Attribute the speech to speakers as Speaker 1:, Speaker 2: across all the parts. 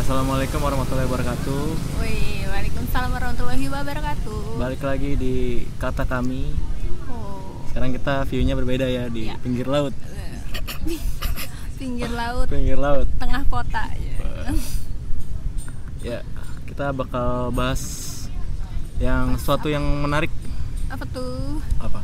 Speaker 1: Assalamualaikum warahmatullahi wabarakatuh.
Speaker 2: Wih, Waalaikumsalam warahmatullahi wabarakatuh.
Speaker 1: Balik lagi di kata kami.
Speaker 2: Oh,
Speaker 1: Sekarang kita view-nya berbeda ya di
Speaker 2: Iya.
Speaker 1: pinggir laut.
Speaker 2: pinggir laut,
Speaker 1: Pinggir laut.
Speaker 2: tengah kota. ya.
Speaker 1: Ya, kita bakal bahas yang suatu yang menarik
Speaker 2: Apa tuh?
Speaker 1: apa?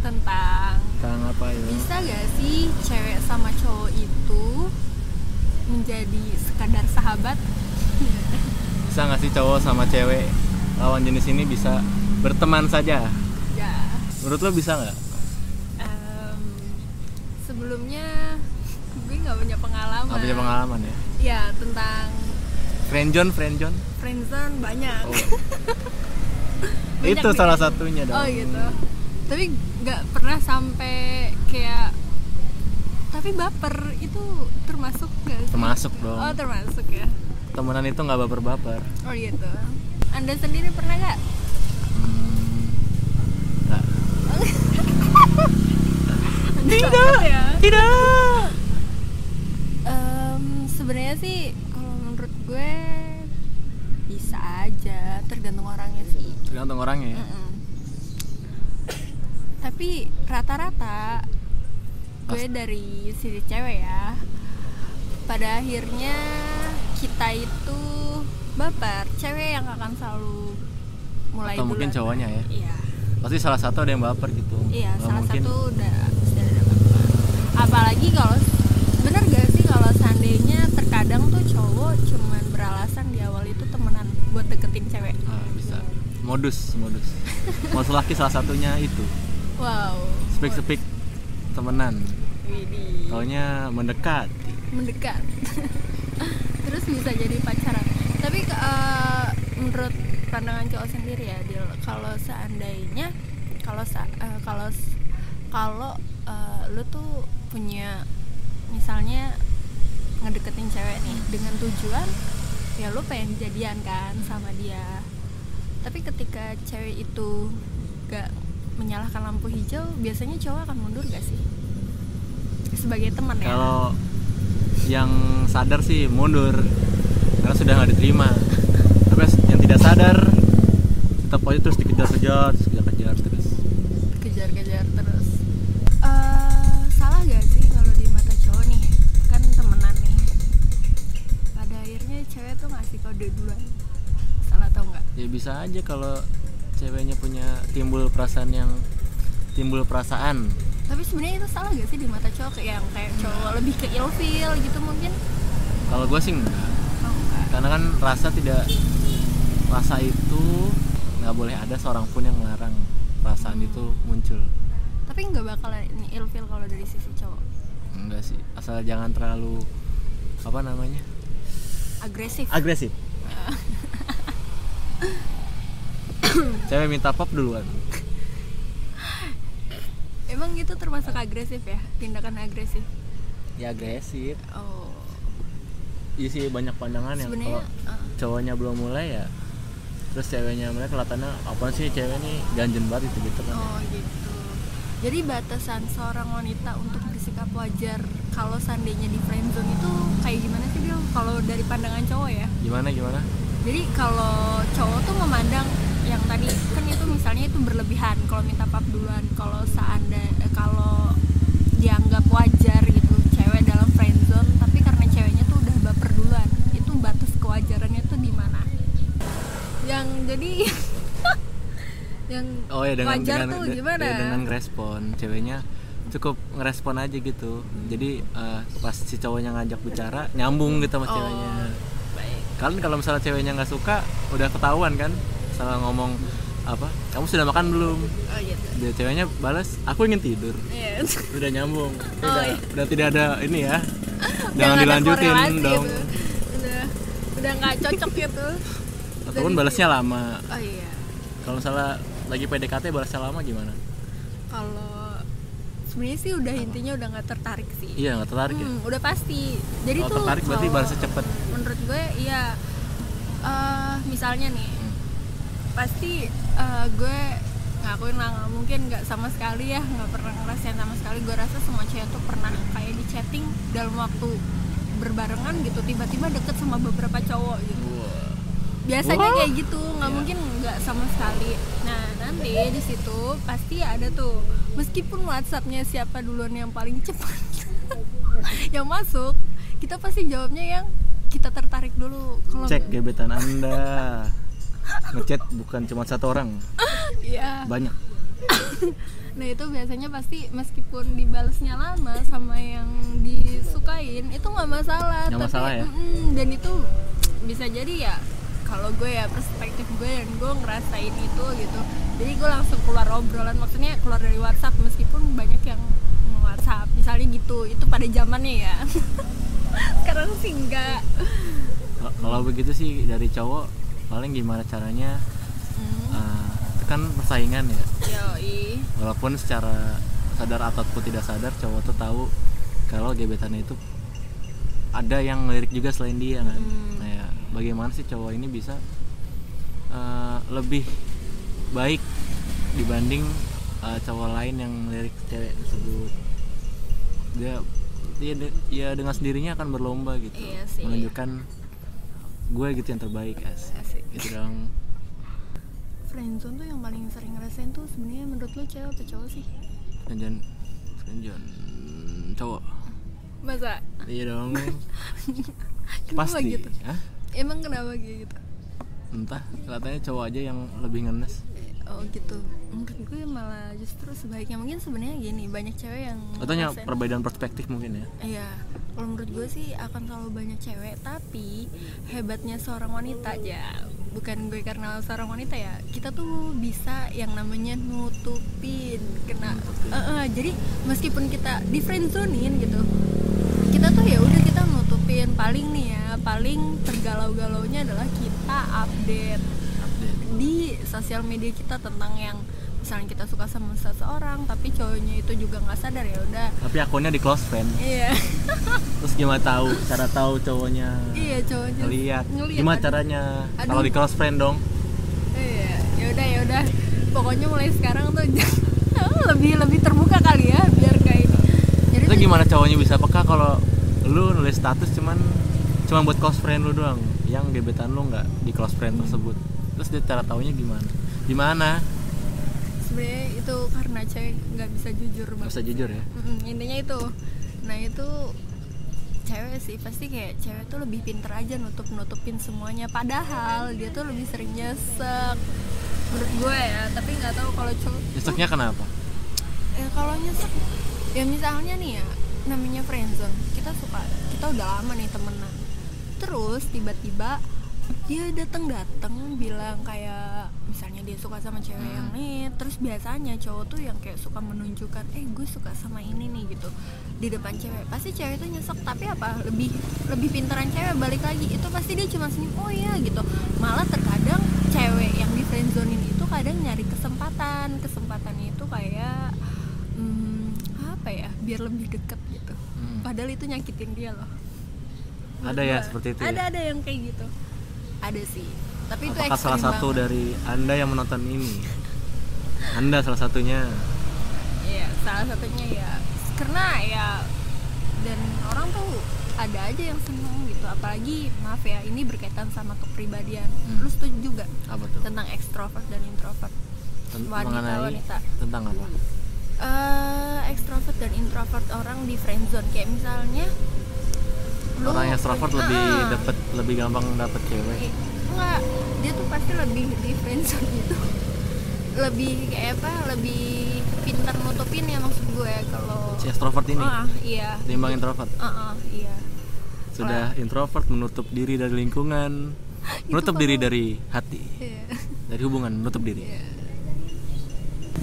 Speaker 2: Tentang
Speaker 1: Tentang apa ya?
Speaker 2: bisa gak sih cewek sama cowok itu menjadi sekadar sahabat?
Speaker 1: Bisa nggak sih cowok sama cewek lawan jenis ini bisa berteman saja?
Speaker 2: ya.
Speaker 1: Menurut lo bisa nggak?
Speaker 2: em, sebelumnya gue nggak punya pengalaman.
Speaker 1: Apa punya pengalaman ya?
Speaker 2: Ya tentang
Speaker 1: Friendzone, friendzone.
Speaker 2: friendzone banyak.
Speaker 1: Oh.
Speaker 2: Banyak
Speaker 1: Itu
Speaker 2: nih.
Speaker 1: salah satunya dong.
Speaker 2: Oh gitu. Tapi nggak pernah sampai kayak tapi baper itu termasuk nggak sih?
Speaker 1: Termasuk dong.
Speaker 2: Oh termasuk ya.
Speaker 1: Temenan itu nggak baper-baper.
Speaker 2: Oh gitu. Anda sendiri pernah nggak?
Speaker 1: Nggak.
Speaker 2: Anda banget ya.
Speaker 1: Tidak.
Speaker 2: Em, Sebenarnya sih kalau menurut gue bisa aja tergantung orangnya sih.
Speaker 1: Tergantung orangnya ya.
Speaker 2: Mm-mm. Tapi rata-rata gue dari sisi cewek ya. Pada akhirnya kita itu baper, cewek yang akan selalu mulai
Speaker 1: Atau mungkin
Speaker 2: duluan.
Speaker 1: cowoknya ya.
Speaker 2: Iya.
Speaker 1: Pasti salah satu ada yang baper gitu.
Speaker 2: Iya,
Speaker 1: Nggak
Speaker 2: salah
Speaker 1: mungkin.
Speaker 2: satu udah sudah ada baper. Apalagi kalau bener gak sih kalau seandainya terkadang tuh cowok cuman beralasan di awal itu temenan buat deketin cewek.
Speaker 1: Ah, bisa. Modus, modus. modus laki salah satunya itu.
Speaker 2: Wow.
Speaker 1: Speak speak temenan.
Speaker 2: Widih.
Speaker 1: Oh, Taunya mendekat.
Speaker 2: mendekat terus bisa jadi pacaran tapi eh, menurut pandangan cowok sendiri ya Dil, kalau seandainya kalau sa- eh, kalau s- kalau eh, lu tuh punya misalnya ngedeketin cewek nih dengan tujuan ya lu pengen jadian kan sama dia tapi ketika cewek itu gak menyalakan lampu hijau biasanya cowok akan mundur gak sih sebagai teman ya
Speaker 1: Kalau yang sadar sih mundur karena sudah nggak diterima. Tapi yang tidak sadar tetap aja terus dikejar-kejar, terus dikejar-kejar terus.
Speaker 2: kejar-kejar terus Eh, salah gak sih kalau di mata cowok nih kan temenan nih pada akhirnya cewek tuh ngasih kode duluan salah tau nggak
Speaker 1: Ya bisa aja kalau ceweknya punya timbul perasaan yang timbul perasaan
Speaker 2: tapi sebenarnya itu salah gak sih di mata cowok kayak yang kayak cowok lebih ke ilfil gitu mungkin
Speaker 1: kalau gue sih enggak
Speaker 2: oh enggak
Speaker 1: karena kan rasa tidak rasa itu nggak boleh ada seorang pun yang melarang perasaan itu muncul
Speaker 2: tapi nggak bakalan ini ilfil kalau dari sisi cowok
Speaker 1: enggak sih asal jangan terlalu apa namanya
Speaker 2: agresif
Speaker 1: agresif cewek minta pop duluan
Speaker 2: emang gitu termasuk agresif ya tindakan agresif
Speaker 1: ya agresif
Speaker 2: oh
Speaker 1: isi banyak pandangan Kan yang
Speaker 2: sebenarnya
Speaker 1: kalau
Speaker 2: eh,
Speaker 1: cowoknya belum mulai ya terus ceweknya mulai kelihatannya apa sih cewek ini ganjen banget gitu gitu kan ya.
Speaker 2: Oh gitu. Jadi batasan seorang wanita untuk bersikap wajar kalau seandainya di friendzone itu kayak gimana sih Bil? Kalau dari pandangan cowok ya.
Speaker 1: gimana gimana
Speaker 2: Jadi kalau cowok tuh memandang yang tadi kan itu misalnya itu berlebihan kalau minta pap duluan kalau seandainya kalau dianggap wajar gitu cewek dalam friendzone tapi karena ceweknya tuh udah baper duluan itu batas kewajarannya tuh di mana? Yang jadi yang
Speaker 1: Oh ya dengan
Speaker 2: wajar
Speaker 1: dengan,
Speaker 2: tuh
Speaker 1: de-
Speaker 2: gimana?
Speaker 1: de- dengan respon ceweknya cukup ngerespon aja gitu. Jadi eh, pas si cowoknya ngajak bicara nyambung gitu sama
Speaker 2: Oh.
Speaker 1: ceweknya.
Speaker 2: Baik.
Speaker 1: Kalian kalau misalnya ceweknya nggak suka udah ketahuan kan? Salah ngomong apa? Kamu sudah makan belum?
Speaker 2: Oh gitu.
Speaker 1: Dia ceweknya balas, aku ingin tidur.
Speaker 2: Iya.
Speaker 1: Udah nyambung. Udah,
Speaker 2: iya.
Speaker 1: udah tidak ada ini ya.
Speaker 2: Udah
Speaker 1: Jangan
Speaker 2: nggak ada
Speaker 1: dilanjutin
Speaker 2: korelasi
Speaker 1: dong.
Speaker 2: gitu. Udah udah nggak cocok gitu.
Speaker 1: Ataupun
Speaker 2: Jadi-
Speaker 1: balasnya lama.
Speaker 2: Oh iya.
Speaker 1: Kalau misalnya lagi PDKT balasnya lama gimana?
Speaker 2: Kalau sebenarnya sih udah intinya udah nggak tertarik sih.
Speaker 1: Iya nggak tertarik ya.
Speaker 2: Hmm, udah pasti. Jadi
Speaker 1: Kalau
Speaker 2: tuh
Speaker 1: tertarik berarti
Speaker 2: cowok-
Speaker 1: balasnya cepet.
Speaker 2: Menurut gue iya. Eh, misalnya nih
Speaker 1: Hmm.
Speaker 2: pasti eh, gue ngakuin lah nggak mungkin nggak sama sekali ya nggak pernah ngerasain sama sekali gue rasa semua cewek tuh pernah kayak di chatting dalam waktu berbarengan gitu tiba-tiba deket sama beberapa cowok gitu
Speaker 1: Wah.
Speaker 2: biasanya
Speaker 1: Wah.
Speaker 2: kayak gitu nggak
Speaker 1: Iya.
Speaker 2: mungkin nggak sama sekali nah nanti di situ pasti ada tuh meskipun WhatsAppnya siapa duluan yang paling cepat yang masuk kita pasti jawabnya yang kita tertarik dulu kalau
Speaker 1: Cek gebetan Anda. Ngechat bukan cuma satu orang,
Speaker 2: Iya.
Speaker 1: banyak.
Speaker 2: nah itu biasanya pasti meskipun dibalasnya lama sama yang disukain itu nggak masalah
Speaker 1: Nggak masalah ya?
Speaker 2: mm, dan itu bisa jadi ya kalau gue ya perspektif gue dan gue ngerasain itu gitu jadi gue langsung keluar obrolan maksudnya keluar dari WhatsApp meskipun banyak yang WhatsApp misalnya gitu itu pada zamannya ya sekarang sih enggak
Speaker 1: Kalau- Kalau begitu sih dari cowok paling gimana caranya
Speaker 2: mm,
Speaker 1: eh, itu kan persaingan ya.
Speaker 2: yoi
Speaker 1: Walaupun secara sadar ataupun tidak sadar cowok tuh tahu kalau gebetannya itu ada yang ngelirik juga selain dia kan.
Speaker 2: Hmm.
Speaker 1: Nah, ya, bagaimana sih cowok ini bisa eh, lebih baik dibanding eh, cowok lain yang ngelirik cewek tersebut? Dia dia de- ya dengan sendirinya akan berlomba gitu.
Speaker 2: Iya sih.
Speaker 1: Menunjukkan gue gitu yang terbaik as.
Speaker 2: Asik.
Speaker 1: Gitu dong.
Speaker 2: friendzone tuh yang paling sering ngerasain tuh sebenarnya menurut lo cewek atau cowok sih
Speaker 1: Jangan jangan cowok.
Speaker 2: masa
Speaker 1: Iya dong.
Speaker 2: Kenapa
Speaker 1: pasti
Speaker 2: gitu?
Speaker 1: Hah?
Speaker 2: Emang kenapa kayak gitu?
Speaker 1: entah kelihatannya cowok aja yang lebih ngenes
Speaker 2: Oh gitu. Menurut gue malah justru sebaiknya mungkin sebenarnya gini banyak cewek yang
Speaker 1: katanya
Speaker 2: ngerasain-
Speaker 1: perbedaan perspektif mungkin ya
Speaker 2: Iya. Kalau menurut gue sih akan selalu banyak cewek tapi hebatnya seorang wanita ya bukan gue karena seorang wanita ya kita tuh bisa yang namanya nutupin kena
Speaker 1: Nutupin.
Speaker 2: Eh, eh, jadi meskipun kita di friendzonein gitu kita tuh ya udah kita nutupin paling nih ya paling tergalau-galaunya adalah kita update
Speaker 1: update
Speaker 2: di sosial media kita tentang yang misalnya kita suka sama seseorang tapi cowoknya itu juga nggak sadar ya udah
Speaker 1: tapi akunnya di close friend
Speaker 2: iya
Speaker 1: terus gimana tahu cara tahu cowoknya
Speaker 2: iya cowoknya
Speaker 1: ngelihat
Speaker 2: ngeliat,
Speaker 1: gimana
Speaker 2: aduh.
Speaker 1: caranya
Speaker 2: Aduh.
Speaker 1: kalau di close friend dong
Speaker 2: iya ya udah ya udah pokoknya mulai sekarang tuh jangan- lebih lebih terbuka kali ya biar kayak ini jadi
Speaker 1: itu
Speaker 2: tuh-
Speaker 1: gimana cowoknya bisa peka kalau lu nulis status cuman cuman buat close friend lu doang yang gebetan lu nggak di close
Speaker 2: Hmm.
Speaker 1: friend tersebut terus dia cara taunya gimana gimana
Speaker 2: sebenarnya itu karena cewek nggak bisa jujur
Speaker 1: nggak
Speaker 2: banget
Speaker 1: usah jujur ya
Speaker 2: Mm-mm, intinya itu nah itu cewek sih pasti kayak cewek tuh lebih pinter aja nutup nutupin semuanya padahal dia tuh lebih sering nyesek menurut gue ya tapi nggak tahu kalau cowok
Speaker 1: besoknya kenapa
Speaker 2: eh, kalau nyesek ya misalnya nih ya namanya friendzone kita suka kita udah lama nih temenan terus tiba-tiba dia dateng dateng bilang kayak misalnya dia suka sama cewek
Speaker 1: Hmm.
Speaker 2: yang nih terus biasanya cowok tuh yang kayak suka menunjukkan eh gue suka sama ini nih gitu di depan cewek pasti cewek tuh nyesek tapi apa lebih lebih pintaran cewek balik lagi itu pasti dia cuma senyum oh ya gitu malah terkadang cewek yang di friendzonein itu kadang nyari kesempatan kesempatan itu kayak hmm, apa ya biar lebih deket gitu
Speaker 1: Hmm.
Speaker 2: padahal itu nyakitin dia loh Menurut
Speaker 1: ada ya
Speaker 2: gua.
Speaker 1: seperti itu ya?
Speaker 2: ada ada yang kayak gitu ada sih tapi itu
Speaker 1: Apakah salah
Speaker 2: ekstrim
Speaker 1: satu
Speaker 2: banget.
Speaker 1: dari Anda yang menonton ini? Anda salah satunya.
Speaker 2: Iya, salah satunya ya karena ya dan orang tuh ada aja yang seneng gitu apalagi maaf ya ini berkaitan sama kepribadian
Speaker 1: Hmm.
Speaker 2: lu setuju juga
Speaker 1: Apa tuh?
Speaker 2: tentang ekstrovert dan introvert
Speaker 1: Ten-
Speaker 2: wanita, wanita.
Speaker 1: tentang apa?
Speaker 2: eh ekstrovert dan introvert orang di friendzone kayak misalnya lu-
Speaker 1: Orang yang extrovert lebih
Speaker 2: Ah.
Speaker 1: dapet lebih gampang dapet cewek.
Speaker 2: Eh, enggak dia tuh pasti lebih di friendzone gitu lebih kayak apa lebih pintar nutupin ya maksud gue kalau
Speaker 1: Si extrovert ini
Speaker 2: Ah, iya
Speaker 1: timbang introvert.
Speaker 2: Ah, ah, iya
Speaker 1: Sudah introvert menutup diri dari lingkungan,
Speaker 2: Itu
Speaker 1: menutup diri
Speaker 2: kalau-
Speaker 1: dari hati,
Speaker 2: Iya.
Speaker 1: dari hubungan, menutup diri.
Speaker 2: Iya.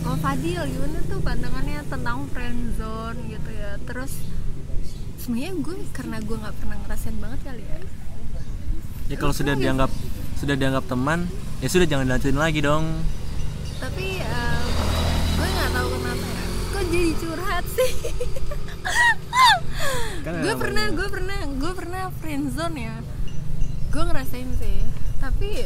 Speaker 2: Oh Fadil gimana tuh pandangannya tentang friendzone gitu ya terus sebenarnya gue karena gue nggak pernah ngerasain banget kali ya
Speaker 1: Ya kalau sudah dianggap sudah dianggap teman, ya sudah jangan dilanjutin lagi dong.
Speaker 2: tapi eh, gue nggak tahu kenapa ya kok jadi curhat sih
Speaker 1: Kan
Speaker 2: gue
Speaker 1: ada
Speaker 2: pernah
Speaker 1: namanya.
Speaker 2: gue pernah gue pernah friendzone ya gue ngerasain sih tapi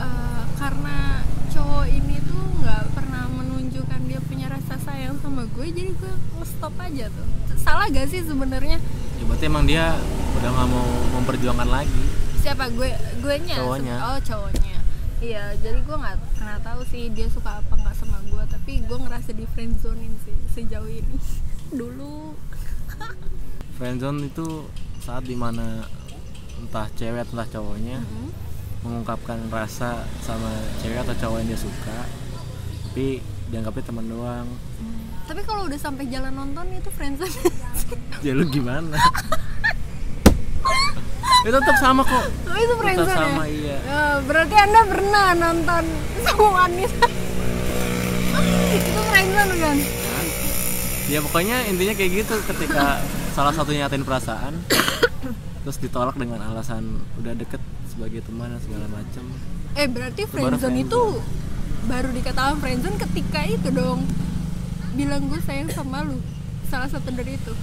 Speaker 2: eh, karena cowok ini tuh nggak pernah menunjukkan dia punya rasa sayang sama gue jadi gue stop aja tuh salah gak sih sebenarnya
Speaker 1: Ya berarti emang dia udah nggak mau memperjuangkan lagi
Speaker 2: siapa gue gue nya
Speaker 1: Cowoknya.
Speaker 2: oh cowoknya iya jadi gue nggak pernah tahu sih dia suka apa nggak sama gue tapi gue ngerasa di friendzonein sih sejauh ini dulu
Speaker 1: friendzone itu saat dimana entah cewek entah cowoknya
Speaker 2: Mhm.
Speaker 1: mengungkapkan rasa sama cewek atau cowok yang dia suka tapi dianggapnya teman doang
Speaker 2: Hmm. tapi kalau udah sampai jalan nonton itu friendzone
Speaker 1: ya lu gimana itu tetap sama kok
Speaker 2: oh itu
Speaker 1: tetap
Speaker 2: friendzone
Speaker 1: sama iya
Speaker 2: ya? Eh, berarti anda pernah nonton semua wanita itu friendzone kan
Speaker 1: ya pokoknya intinya kayak gitu ketika salah satunya nyatain perasaan terus ditolak dengan alasan udah deket sebagai teman dan segala macem
Speaker 2: eh berarti
Speaker 1: baru
Speaker 2: friendzone
Speaker 1: friendzone.
Speaker 2: itu baru dikatakan friendzone ketika itu dong bilang gue sayang sama lu salah satu dari itu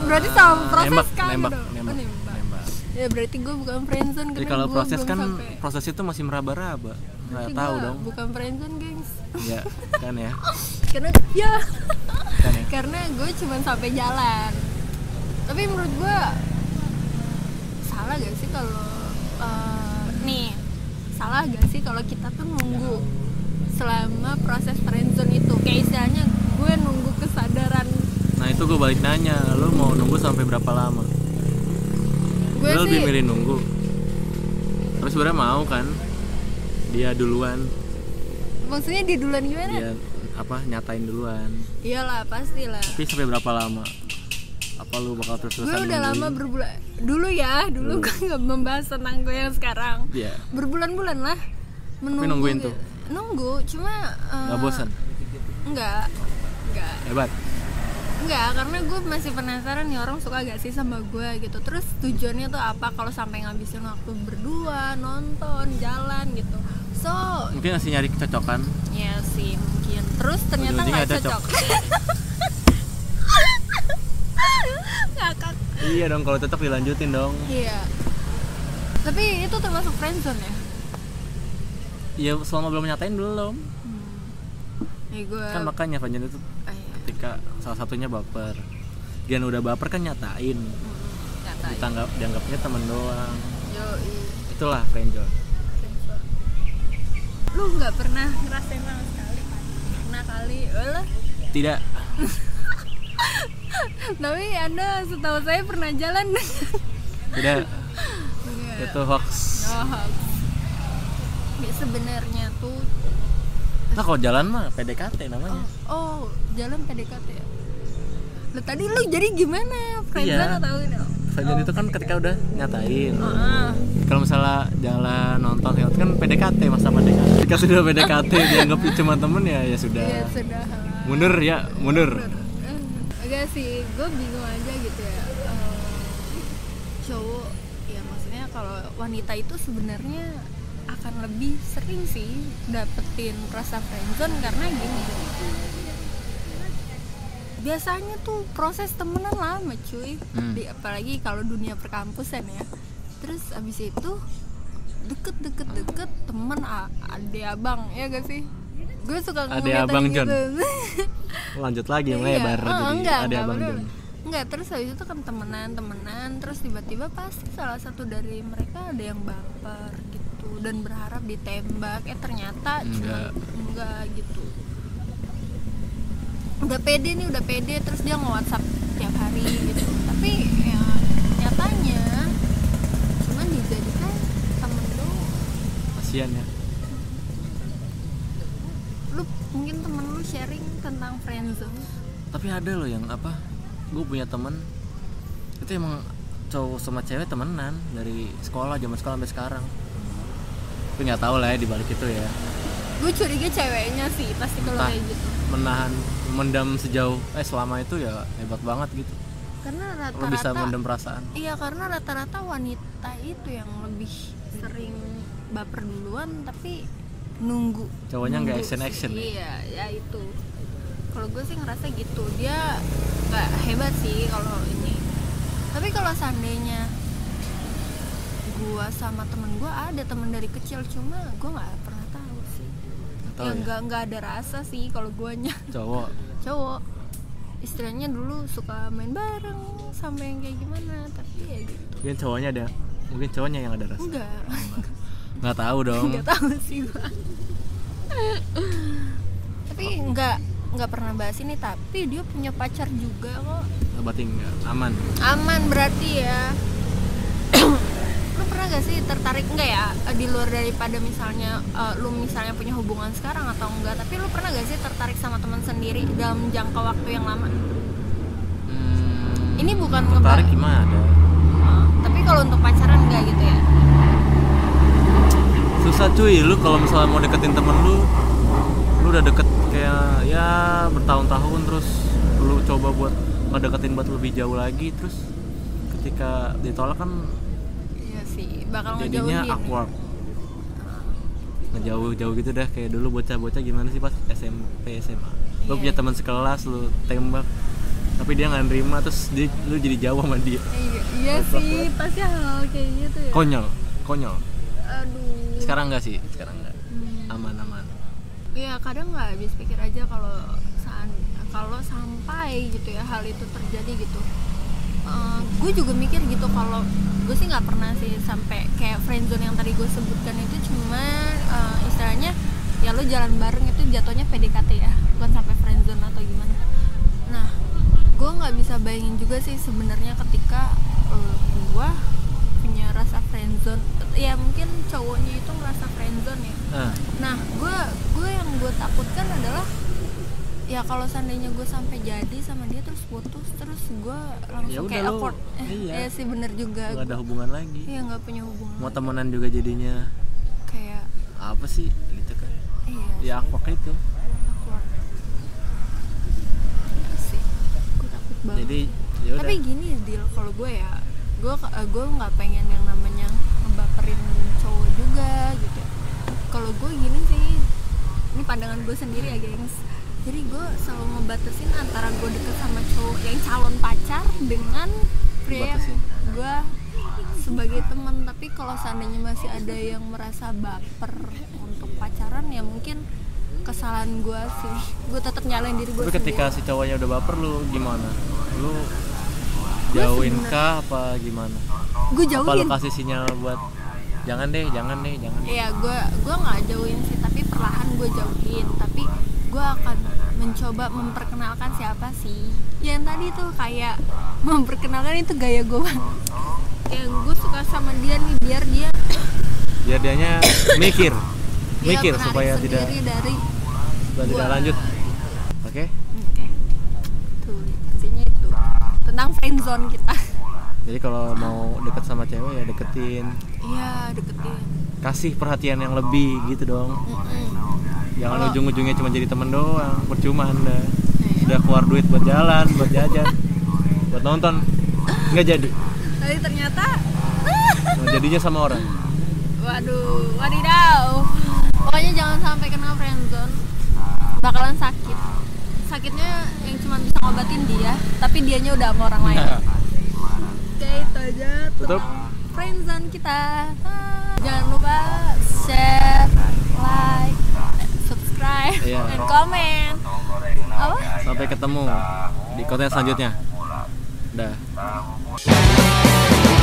Speaker 2: berarti sama proses
Speaker 1: Ah, nembak,
Speaker 2: kan
Speaker 1: nembak,
Speaker 2: dong. Oh,
Speaker 1: nembak,
Speaker 2: nembak.
Speaker 1: nembak.
Speaker 2: ya berarti gue bukan friendzone
Speaker 1: Jadi
Speaker 2: karena
Speaker 1: kalau
Speaker 2: gue
Speaker 1: proses
Speaker 2: belum
Speaker 1: kan
Speaker 2: sampai.
Speaker 1: proses itu masih meraba-raba nggak
Speaker 2: Berarti
Speaker 1: tahu
Speaker 2: gue
Speaker 1: dong
Speaker 2: bukan friendzone gengs
Speaker 1: ya kan ya
Speaker 2: karena ya
Speaker 1: kan ya
Speaker 2: karena gue cuma sampai jalan tapi menurut gue salah gak sih kalau eh, nih salah gak sih kalau kita tuh nunggu selama proses friendzone itu kayak istilahnya gue nunggu kesadaran
Speaker 1: nah itu gue balik nanya lu mau nunggu sampai berapa lama
Speaker 2: gue
Speaker 1: lu
Speaker 2: sih
Speaker 1: lebih milih nunggu terus sebenarnya mau kan dia duluan
Speaker 2: maksudnya di duluan gimana
Speaker 1: dia apa nyatain duluan
Speaker 2: iyalah pastilah
Speaker 1: tapi sampai berapa lama apa lu bakal terus
Speaker 2: gue
Speaker 1: terusan
Speaker 2: udah lama berbulan dulu ya dulu
Speaker 1: Dulu.
Speaker 2: gue nggak membahas tentang gue yang sekarang
Speaker 1: ya
Speaker 2: berbulan-bulan lah menunggu
Speaker 1: nungguin
Speaker 2: gitu.
Speaker 1: tuh?
Speaker 2: nunggu cuma eh,
Speaker 1: nggak bosan
Speaker 2: enggak enggak
Speaker 1: hebat
Speaker 2: enggak karena gue masih penasaran nih orang suka gak sih sama gue gitu terus tujuannya tuh apa kalau sampai ngabisin waktu berdua nonton jalan gitu so
Speaker 1: mungkin masih nyari kecocokan
Speaker 2: ya sih mungkin terus ternyata
Speaker 1: Ujung-ujungnya
Speaker 2: nggak
Speaker 1: ada cok.
Speaker 2: cocok ngakak
Speaker 1: iya dong kalau tetap dilanjutin dong
Speaker 2: iya tapi itu termasuk friendzone ya
Speaker 1: ya selama belum nyatain belum
Speaker 2: hmm. ya gue
Speaker 1: kan makanya Fanjan itu
Speaker 2: ah, iya.
Speaker 1: ketika salah satunya baper Gian udah baper kan nyatain
Speaker 2: Hmm, kata
Speaker 1: ditanggap dianggapnya temen doang
Speaker 2: Yoi.
Speaker 1: itulah friendzone
Speaker 2: friendzone. lu nggak pernah ngerasain sama sekali pernah kali lah
Speaker 1: tidak
Speaker 2: tapi anda setahu saya pernah jalan
Speaker 1: tidak
Speaker 2: Nggak.
Speaker 1: itu hoax
Speaker 2: oh hoax. ya sebenarnya tuh
Speaker 1: nah kalau jalan mah PDKT namanya
Speaker 2: oh, oh, jalan PDKT ya lu tadi lu jadi gimana friendzone
Speaker 1: Iya.
Speaker 2: atau ini Oh,
Speaker 1: Fanjan itu kan ketika udah nyatain
Speaker 2: Ah,
Speaker 1: kalau misalnya jalan nonton itu kan PDKT masa PDKT ketika sudah PDKT dianggap cuma temen ya ya sudah
Speaker 2: ya sudah lah.
Speaker 1: mundur ya mundur
Speaker 2: Eh, enggak sih gue bingung aja gitu ya Eh, cowok ya maksudnya kalau wanita itu sebenarnya akan lebih sering sih dapetin rasa friendzone karena gini biasanya tuh proses temenan lama cuy
Speaker 1: Hmm.
Speaker 2: Di- apalagi kalau dunia perkampusan ya terus abis itu deket deket deket temen a- ade abang ya gak sih gue suka
Speaker 1: Ade
Speaker 2: ngeliatin
Speaker 1: abang, John.
Speaker 2: gitu.
Speaker 1: lanjut lagi yang
Speaker 2: Iya,
Speaker 1: lebar
Speaker 2: eh,
Speaker 1: jadi
Speaker 2: enggak,
Speaker 1: ada
Speaker 2: enggak,
Speaker 1: abang
Speaker 2: bener.
Speaker 1: John
Speaker 2: Enggak, terus habis itu kan temenan-temenan Terus tiba-tiba pasti salah satu dari mereka ada yang baper gitu Dan berharap ditembak Eh ternyata cuma
Speaker 1: Enggak.
Speaker 2: enggak gitu Udah pede nih, udah pede Terus dia nge-whatsapp tiap hari gitu Tapi ya nyatanya Cuman dijadikan temen doang
Speaker 1: kasihan ya
Speaker 2: Lu mungkin temen lu sharing tentang friendzone
Speaker 1: tapi ada loh yang apa gue punya temen itu emang cowok sama cewek temenan dari sekolah zaman sekolah sampai sekarang tapi nggak tahu lah ya dibalik itu ya
Speaker 2: Gue curiga ceweknya sih pasti kalau
Speaker 1: Entah.
Speaker 2: kayak gitu
Speaker 1: menahan mendam sejauh eh selama itu ya hebat banget gitu
Speaker 2: karena
Speaker 1: lo bisa
Speaker 2: rata-rata
Speaker 1: mendam perasaan
Speaker 2: iya karena rata-rata wanita itu yang lebih sering baper duluan tapi nunggu
Speaker 1: Cowoknya nggak
Speaker 2: Nunggu
Speaker 1: action
Speaker 2: sih.
Speaker 1: action ya?
Speaker 2: iya ya itu kalau gue sih ngerasa gitu dia nggak hebat sih kalau ini tapi kalau seandainya gua sama temen gua ada temen dari kecil cuma gua nggak pernah tahu sih
Speaker 1: Nggak tahu
Speaker 2: ya
Speaker 1: ya
Speaker 2: nggak nggak ada rasa sih kalau guanya
Speaker 1: cowok
Speaker 2: cowok istilahnya dulu suka main bareng sampai yang kayak gimana tapi ya gitu
Speaker 1: mungkin cowoknya ada mungkin cowoknya yang ada rasa
Speaker 2: enggak
Speaker 1: nggak tahu dong
Speaker 2: Hmm. nggak tahu sih gua tapi nggak nggak pernah bahas ini tapi dia punya pacar juga kok
Speaker 1: berarti nggak aman
Speaker 2: aman berarti ya lu pernah gak sih tertarik enggak ya eh, di luar daripada misalnya eh, lu misalnya punya hubungan sekarang atau enggak tapi lu pernah gak sih tertarik sama teman sendiri dalam jangka waktu yang lama
Speaker 1: Hmm,
Speaker 2: ini bukan
Speaker 1: tertarik
Speaker 2: ngebahas-
Speaker 1: gimana
Speaker 2: Oh, tapi kalau untuk pacaran enggak gitu ya
Speaker 1: susah cuy lu kalau misalnya mau deketin temen lu lu udah deket kayak ya bertahun-tahun terus lu coba buat ngedeketin buat lebih jauh lagi terus ketika ditolak kan
Speaker 2: iya sih bakal
Speaker 1: jadinya
Speaker 2: ngejauhin ya.
Speaker 1: awkward ngejauh-jauh gitu dah kayak dulu bocah-bocah gimana sih pas SMP SMA lu
Speaker 2: Iya,
Speaker 1: punya
Speaker 2: iya.
Speaker 1: teman sekelas lu tembak tapi dia nggak nerima terus dia, lu jadi jauh sama dia
Speaker 2: iya, iya sih pasti hal kayak gitu ya
Speaker 1: konyol konyol
Speaker 2: aduh
Speaker 1: sekarang enggak sih sekarang enggak
Speaker 2: Hmm.
Speaker 1: aman-aman
Speaker 2: Iya kadang nggak habis pikir aja kalau saan kalau sampai gitu ya hal itu terjadi gitu. Eh, gue juga mikir gitu kalau gue sih nggak pernah sih sampai kayak friendzone yang tadi gue sebutkan itu cuma eh, istilahnya ya lo jalan bareng itu jatuhnya PDKT ya bukan sampai friendzone atau gimana. Nah gue nggak bisa bayangin juga sih sebenarnya ketika eh, gue punya rasa friendzone ya mungkin cowoknya itu ngerasa friendzone ya
Speaker 1: Ah,
Speaker 2: Nah, gue gue yang gue takutkan adalah ya kalau seandainya gue sampai jadi sama dia terus putus terus gue
Speaker 1: Ya
Speaker 2: langsung
Speaker 1: udah
Speaker 2: kayak
Speaker 1: lo-
Speaker 2: awkward. Eh,
Speaker 1: iya.
Speaker 2: iya sih bener juga.
Speaker 1: nggak ada hubungan lagi
Speaker 2: Iya nggak punya hubungan.
Speaker 1: mau temenan juga jadinya
Speaker 2: Kayak
Speaker 1: apa sih gitu kan ya
Speaker 2: iya. sih,
Speaker 1: awkward itu
Speaker 2: awkward. Iya sih. Gue takut banget.
Speaker 1: jadi ya udah
Speaker 2: Tapi gini deal kalau gue ya gue eh, gue nggak pengen yang namanya ngebaperin cowok juga gitu. Kalau gue gini sih ini pandangan gue sendiri ya gengs. Jadi gue selalu ngebatasin antara gue deket sama cowok yang calon pacar dengan pria yang
Speaker 1: Dibatasin.
Speaker 2: gue sebagai teman tapi kalau seandainya masih ada yang merasa baper untuk pacaran ya mungkin kesalahan gue sih gue tetap nyalain diri gue
Speaker 1: tapi ketika si cowoknya udah baper lu gimana lu jauhin kah apa gimana
Speaker 2: gue
Speaker 1: apa lu
Speaker 2: jauhin
Speaker 1: kasih sinyal buat jangan deh jangan deh jangan deh.
Speaker 2: Iya, gue gua nggak jauhin sih, tapi perlahan gue jauhin. Tapi gue akan mencoba memperkenalkan siapa sih. Yang tadi tuh kayak memperkenalkan itu gaya gue banget. Kayak gue suka sama dia nih, biar dia
Speaker 1: biar dianya mikir
Speaker 2: dia
Speaker 1: mikir
Speaker 2: menarik
Speaker 1: supaya tidak
Speaker 2: Iya, sendiri dari.
Speaker 1: supaya tidak
Speaker 2: Gua.
Speaker 1: lanjut oke
Speaker 2: Oke, tuh intinya itu tentang friendzone kita.
Speaker 1: jadi kalau mau deket sama cewek ya deketin
Speaker 2: Iya, deketin.
Speaker 1: kasih perhatian yang lebih gitu dong
Speaker 2: Mm-mm.
Speaker 1: Jangan
Speaker 2: Kalau-
Speaker 1: ujung-ujungnya cuma jadi temen doang, percuma anda
Speaker 2: Iya.
Speaker 1: Udah keluar duit buat jalan, buat jajan, buat nonton Nggak jadi,
Speaker 2: Tapi ternyata
Speaker 1: Cuma jadinya sama orang
Speaker 2: Waduh, wadidaw. Pokoknya jangan sampai kena friendzone. Bakalan sakit. Sakitnya yang cuma bisa ngobatin dia, tapi dianya udah sama orang lain. Oke, itu aja
Speaker 1: Tutup.
Speaker 2: tentang friendzone kita. Ah, Jangan lupa share, like, eh, subscribe,
Speaker 1: Iya.
Speaker 2: and comment. Apa?
Speaker 1: Sampai ketemu di konten selanjutnya Dah